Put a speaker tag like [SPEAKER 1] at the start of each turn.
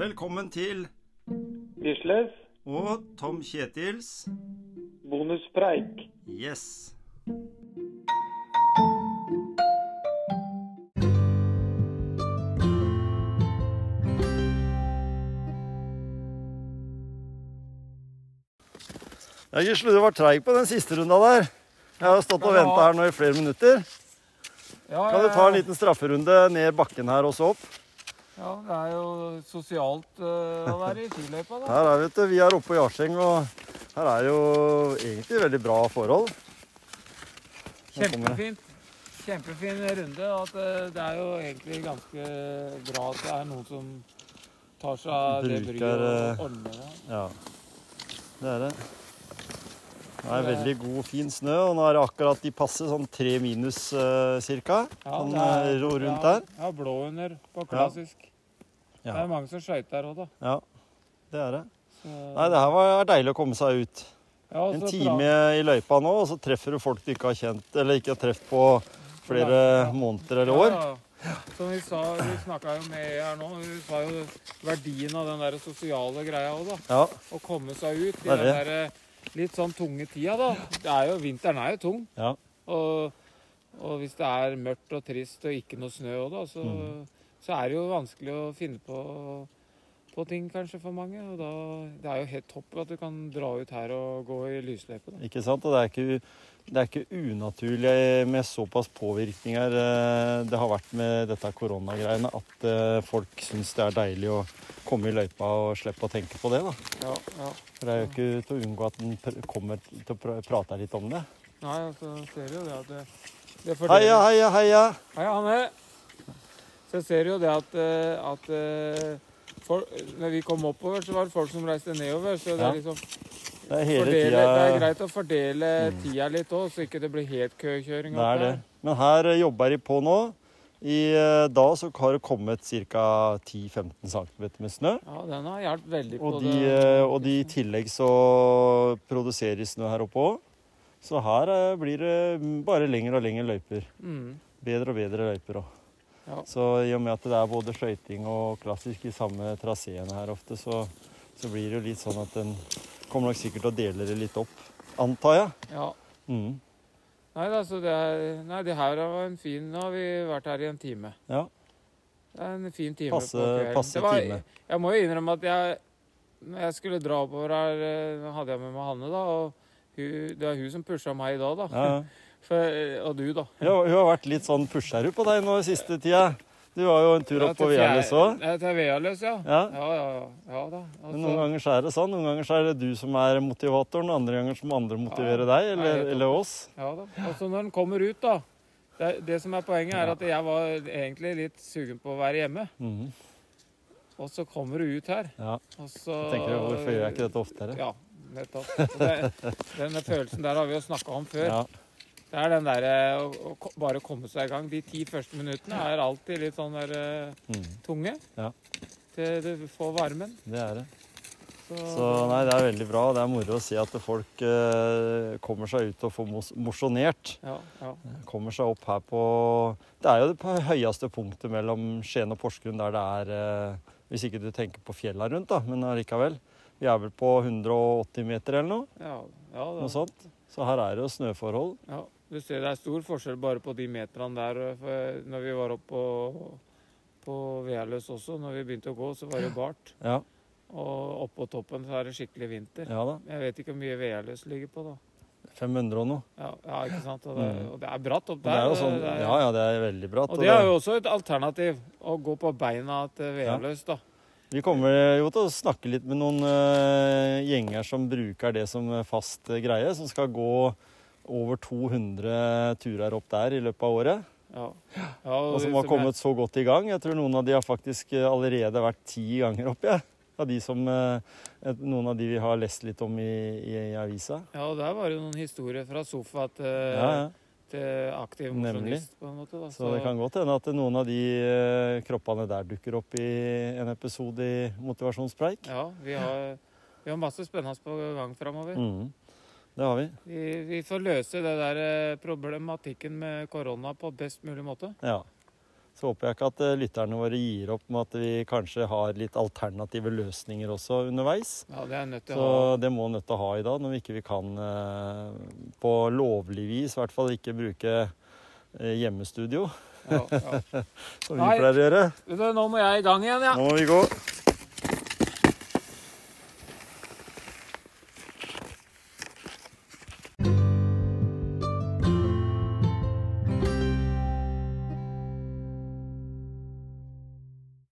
[SPEAKER 1] Velkommen til
[SPEAKER 2] Gisles
[SPEAKER 1] og Tom Kjetils
[SPEAKER 2] bonuspreik.
[SPEAKER 1] Yes.
[SPEAKER 3] Ja, Gisle, du var treig på den siste runda der. Jeg har stått og venta her nå i flere minutter.
[SPEAKER 4] Ja,
[SPEAKER 3] Kan du
[SPEAKER 4] ja,
[SPEAKER 3] ta en
[SPEAKER 4] ja.
[SPEAKER 3] liten strafferunde ned bakken her og så opp?
[SPEAKER 4] Ja, det er jo sosialt eh, å være i skiløypa, da.
[SPEAKER 3] Her er vet du, Vi er oppe på Jarseng, og her er jo egentlig veldig bra forhold. Nå kommer det.
[SPEAKER 4] Kjempefint. Kjempefin runde. og At eh, det er jo egentlig ganske bra at det er noen som tar seg av det bryet
[SPEAKER 3] Bruker, eh,
[SPEAKER 4] og ordner det.
[SPEAKER 3] Ja, det er det. Det er veldig god, fin snø, og nå er det akkurat de passe, sånn tre minus eh, cirka.
[SPEAKER 4] Ja,
[SPEAKER 3] Sånn
[SPEAKER 4] det er-
[SPEAKER 3] eh, ro rundt
[SPEAKER 4] ja,
[SPEAKER 3] her.
[SPEAKER 4] Ja, blå under på klassisk.
[SPEAKER 3] Ja.
[SPEAKER 4] Det er mange som skøyter òg, da.
[SPEAKER 3] Ja, det er det.
[SPEAKER 4] Så,
[SPEAKER 3] Nei, det her var er deilig å komme seg ut.
[SPEAKER 4] ja, og
[SPEAKER 3] En
[SPEAKER 4] så
[SPEAKER 3] time
[SPEAKER 4] fra-
[SPEAKER 3] i løypa nå, og så treffer du folk du ikke har kjent eller ikke har truffet på flere måneder eller år.
[SPEAKER 4] Ja, ja. Som vi sa, vi snakka jo med her nå, vi sa jo verdien av den der sosiale greia òg, da.
[SPEAKER 3] Ja,
[SPEAKER 4] å komme seg ut
[SPEAKER 3] Det
[SPEAKER 4] i
[SPEAKER 3] er
[SPEAKER 4] den der eh, litt sånn tunge tida, da. Det er jo, vinteren er jo tung.
[SPEAKER 3] ja.
[SPEAKER 4] Og, og hvis det er mørkt og trist og ikke noe snø òg, da, så,
[SPEAKER 3] Mm.
[SPEAKER 4] så er det jo vanskelig å finne på, på ting kanskje for mange. Og da Det er jo helt topp at du kan dra ut her og gå i lysløype, da.
[SPEAKER 3] Ikke sant? Og det er ikke, det er ikke unaturlig med såpass påvirkninger eh, det har vært med dette koronagreiene, at eh, folk syns det er deilig å komme i løypa og slippe å tenke på det. da.
[SPEAKER 4] Ja, ja.
[SPEAKER 3] For det er jo ikke til å unngå at en pr kommer til å pr prate litt om det.
[SPEAKER 4] Nei, altså, ser jo det at det, det fordeler-
[SPEAKER 3] Heia, heia, heia!
[SPEAKER 4] Hei, Hanne. Så jeg ser jo det at, eh, at eh, for, når vi kom oppover, så var det folk som reiste nedover. Så det
[SPEAKER 3] Ja.
[SPEAKER 4] er liksom
[SPEAKER 3] Det er hele
[SPEAKER 4] fordele, det er
[SPEAKER 3] tida
[SPEAKER 4] greit å fordele tida litt òg, så ikke det blir helt køkjøring.
[SPEAKER 3] Det er
[SPEAKER 4] opp
[SPEAKER 3] det.
[SPEAKER 4] her.
[SPEAKER 3] Men her eh, jobber de på nå. I eh, dag så har det kommet ca. 10-15 cm med snø.
[SPEAKER 4] Ja, den har hjulpet veldig på
[SPEAKER 3] Og de,
[SPEAKER 4] det.
[SPEAKER 3] eh, og de i
[SPEAKER 4] liksom-
[SPEAKER 3] tillegg så produserer snø her oppe òg. Så her eh, blir det bare lengre og lengre løyper.
[SPEAKER 4] Mm.
[SPEAKER 3] Bedre og bedre løyper òg.
[SPEAKER 4] Ja.
[SPEAKER 3] Så i og med at det er både skøyting og klassisk i samme traseen her ofte, så, så blir det jo litt sånn at en kommer nok sikkert til å dele det litt opp, antar jeg.
[SPEAKER 4] Ja.
[SPEAKER 3] Mm.
[SPEAKER 4] Nei da, så det er Nei, det her var en fin Nå har vi vært her i en time.
[SPEAKER 3] Ja.
[SPEAKER 4] Det er en fin time
[SPEAKER 3] Passe-
[SPEAKER 4] på kvelden.
[SPEAKER 3] passe
[SPEAKER 4] Det var-
[SPEAKER 3] time.
[SPEAKER 4] Jeg må jo innrømme at jeg Når jeg skulle dra oppover her, eh, nå hadde jeg med meg Hanne, da. Og hun, det er hun som pusha meg i dag, da.
[SPEAKER 3] ja. ja.
[SPEAKER 4] For, og du, da.
[SPEAKER 3] Ja, Hun har vært litt sånn pusherud på deg nå i siste tida. Du var jo en tur opp på
[SPEAKER 4] Ja, til fjerde-
[SPEAKER 3] Værnes òg.
[SPEAKER 4] Ja, til Vealøs, ja.
[SPEAKER 3] Ja.
[SPEAKER 4] Ja, ja, ja. ja da.
[SPEAKER 3] Men noen ganger så er det sånn. Noen ganger så er det du som er motivatoren, og andre ganger som andre motiverer deg,
[SPEAKER 4] Nei,
[SPEAKER 3] eller,
[SPEAKER 4] helt
[SPEAKER 3] eller oss.
[SPEAKER 4] Ja da. Altså når den kommer ut, da. Det, det som er poenget, er at jeg var egentlig litt sugen på å være hjemme.
[SPEAKER 3] Mhm.
[SPEAKER 4] Og så kommer du ut her,
[SPEAKER 3] Ja,
[SPEAKER 4] og så
[SPEAKER 3] jeg tenker Hvorfor gjør jeg ikke dette oftere?
[SPEAKER 4] Ja, nettopp. Og Det, denne følelsen der har vi jo snakka om før.
[SPEAKER 3] Ja,
[SPEAKER 4] Det er den derre å, å ko- bare komme seg i gang. De ti første minuttene er alltid litt sånn der eh,
[SPEAKER 3] Mhm.
[SPEAKER 4] tunge.
[SPEAKER 3] Ja.
[SPEAKER 4] Til du får varmen.
[SPEAKER 3] det er det.
[SPEAKER 4] Så,
[SPEAKER 3] Så nei, det er veldig bra. Det er moro å se at folk eh, kommer seg ut og får mos- mosjonert.
[SPEAKER 4] ja, ja.
[SPEAKER 3] Kommer seg opp her på Det er jo det på høyeste punktet mellom Skien og Porsgrunn der det er eh, Hvis ikke du tenker på fjella rundt, da, men allikevel. Vi er vel på 180 meter eller noe,
[SPEAKER 4] Ja, ja,
[SPEAKER 3] noe
[SPEAKER 4] da.
[SPEAKER 3] sånt. Så her er det jo snøforhold.
[SPEAKER 4] ja. Du ser det er stor forskjell bare på de meterne der. eh, For når vi var oppe på, på Vealøs også, når vi begynte å gå, så var det jo bart.
[SPEAKER 3] Ja,
[SPEAKER 4] Og oppå toppen så er det skikkelig vinter.
[SPEAKER 3] ja da.
[SPEAKER 4] Jeg vet ikke hvor mye Vealøs ligger på, da.
[SPEAKER 3] 500 og noe.
[SPEAKER 4] Ja, ja ikke sant? Og det, og det er bratt
[SPEAKER 3] Og Mm. Det
[SPEAKER 4] opp der.
[SPEAKER 3] er jo
[SPEAKER 4] og
[SPEAKER 3] sånn,
[SPEAKER 4] det er-
[SPEAKER 3] ja, ja, det er veldig bra.
[SPEAKER 4] Og det er jo også et alternativ, å gå på beina til Vealøs, da.
[SPEAKER 3] Vi kommer jo til å snakke litt med noen eh, gjenger som bruker det som fast eh, greie, som skal gå over 200 turer opp der i løpet av året,
[SPEAKER 4] Ja. ja
[SPEAKER 3] og som har kommet så godt i gang. Jeg tror noen av de har faktisk eh, allerede vært ti ganger opp, jeg. Av de som, eh, et- noen av de vi har lest litt om i, i, i avisa.
[SPEAKER 4] Ja, og der var det jo noen historier fra sofa til,
[SPEAKER 3] Ja, ja.
[SPEAKER 4] til aktiv
[SPEAKER 3] Nemlig.
[SPEAKER 4] mosjonist, på en måte. Da.
[SPEAKER 3] Så det kan godt hende at noen av de eh, kroppene der dukker opp i en episode i Motivasjonspreik.
[SPEAKER 4] Ja, vi har, vi har masse spennende på gang framover.
[SPEAKER 3] Mm. Det har vi.
[SPEAKER 4] Vi, vi får løse det der eh, problematikken med korona på best mulig måte.
[SPEAKER 3] Ja. Så håper jeg ikke at eh, lytterne våre gir opp med at vi kanskje har litt alternative løsninger også underveis.
[SPEAKER 4] Ja, det er nødt til å
[SPEAKER 3] Så
[SPEAKER 4] ha.
[SPEAKER 3] det må nødt til å ha i dag, når vi ikke vi kan eh, på lovlig vis i hvert fall ikke bruke eh, hjemmestudio,
[SPEAKER 4] Ja, ja.
[SPEAKER 3] som vi
[SPEAKER 4] Nei.
[SPEAKER 3] pleier å gjøre.
[SPEAKER 4] Vet du, Nå må jeg i gang igjen, ja.
[SPEAKER 3] Nå må vi gå.